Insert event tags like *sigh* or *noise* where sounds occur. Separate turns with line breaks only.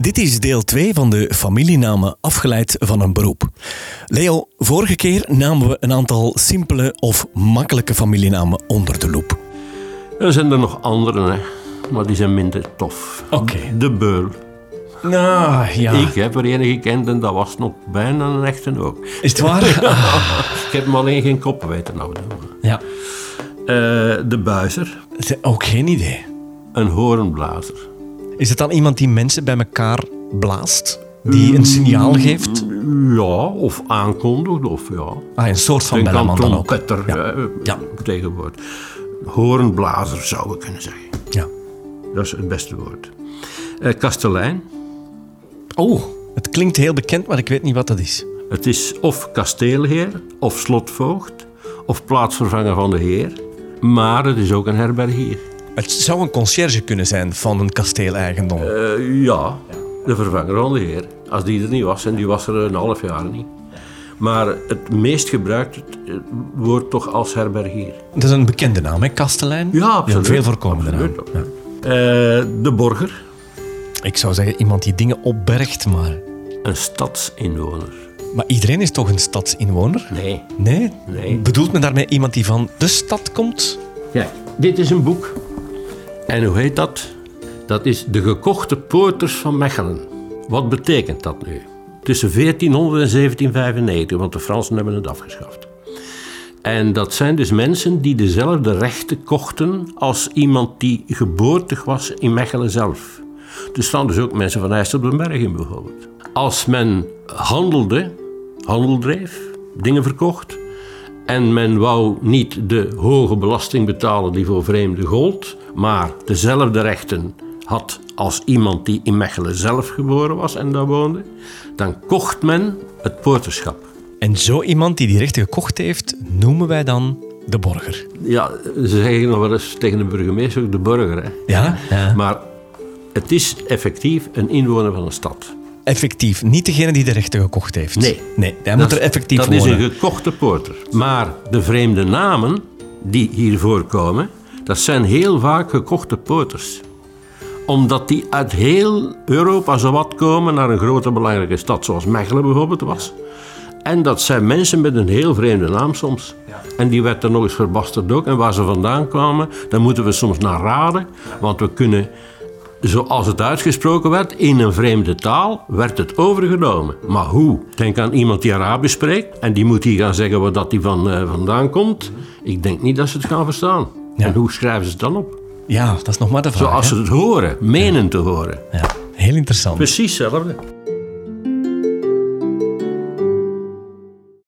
Dit is deel 2 van de familienamen afgeleid van een beroep. Leo, vorige keer namen we een aantal simpele of makkelijke familienamen onder de loep.
Er zijn er nog anderen, hè. Maar die zijn minder tof.
Oké.
De beul.
Nou, ja.
Ik heb er een gekend en dat was nog bijna een echte ook.
Is het *laughs* waar?
Ik heb hem alleen geen kop weten houden.
ja.
Eh, de buizer.
Ook geen idee.
Een hoornblazer.
Is het dan iemand die mensen bij elkaar blaast? Die een signaal geeft?
Ja, of aankondigd, of ja.
Ah, een soort van
Een
belleman dan ook.
kantonketter eh,
Ja.
tegenwoordig. Hoornblazer zou ik kunnen zeggen.
Ja.
Dat is het beste woord. Eh, kastelein.
Oh, het klinkt heel bekend, maar ik weet niet wat dat is.
Het is of kasteelheer, of slotvoogd, of plaatsvervanger van de heer. Maar het is ook een herbergier.
Het zou een conciërge kunnen zijn van een kasteeleigendom.
Eh, ja, de vervanger van de heer. Als die er niet was, en die was er een half jaar niet. Maar het meest gebruikte eh, wordt toch als herbergier.
dat is een bekende naam, hè? Kastelein?
Ja, absoluut.
Een veel voorkomende naam.
Absoluut. Eh, de borger,
Ik zou zeggen iemand die dingen opbergt, maar...
een stadsinwoner.
Maar iedereen is toch een stadsinwoner?
Nee.
Nee?
Nee.
Bedoelt men daarmee iemand die van de stad komt?
Kijk, dit is een boek. En hoe heet dat? Dat is De Gekochte Poorters van Mechelen. Wat betekent dat nu? Tussen 1400 en 1795, want de Fransen hebben het afgeschaft. En dat zijn dus mensen die dezelfde rechten kochten als iemand die geboortig was in Mechelen zelf. Er staan dus ook mensen van IJsselberg in bijvoorbeeld. Als men handelde, handel dreef, dingen verkocht, en men wou niet de hoge belasting betalen die voor vreemden gold, maar dezelfde rechten had als iemand die in Mechelen zelf geboren was en daar woonde, dan kocht men het poorterschap.
En zo iemand die die rechten gekocht heeft, noemen wij dan de borger.
Ja, ze zeggen nog wel eens tegen de burgemeester ook de burger. Hè?
Ja? ja.
Maar het is effectief een inwoner van een stad.
Effectief, niet degene die de rechten gekocht heeft.
Nee.
Nee, hij
Dat-
moet er effectief
Dat
worden.
is een gekochte porter. Maar de vreemde namen die hier voorkomen, dat zijn heel vaak gekochte porters. Omdat die uit heel Europa zowat komen naar een grote belangrijke stad, zoals Mechelen bijvoorbeeld was. En dat zijn mensen met een heel vreemde naam soms. En die werd dan nog eens verbasterd ook. En waar ze vandaan kwamen, daar moeten we soms naar raden. Want we kunnen, zoals het uitgesproken werd, in een vreemde taal, werd het overgenomen. Maar hoe? Denk aan iemand die Arabisch spreekt. En die moet hier gaan zeggen waar dat die van, eh, vandaan komt. Ik denk niet dat ze het gaan verstaan.
Ja.
En hoe schrijven ze het dan op?
Ja, dat is nog maar de vraag.
Zoals
hè?
ze het horen, menen te horen.
Ja, heel interessant.
Precies hetzelfde.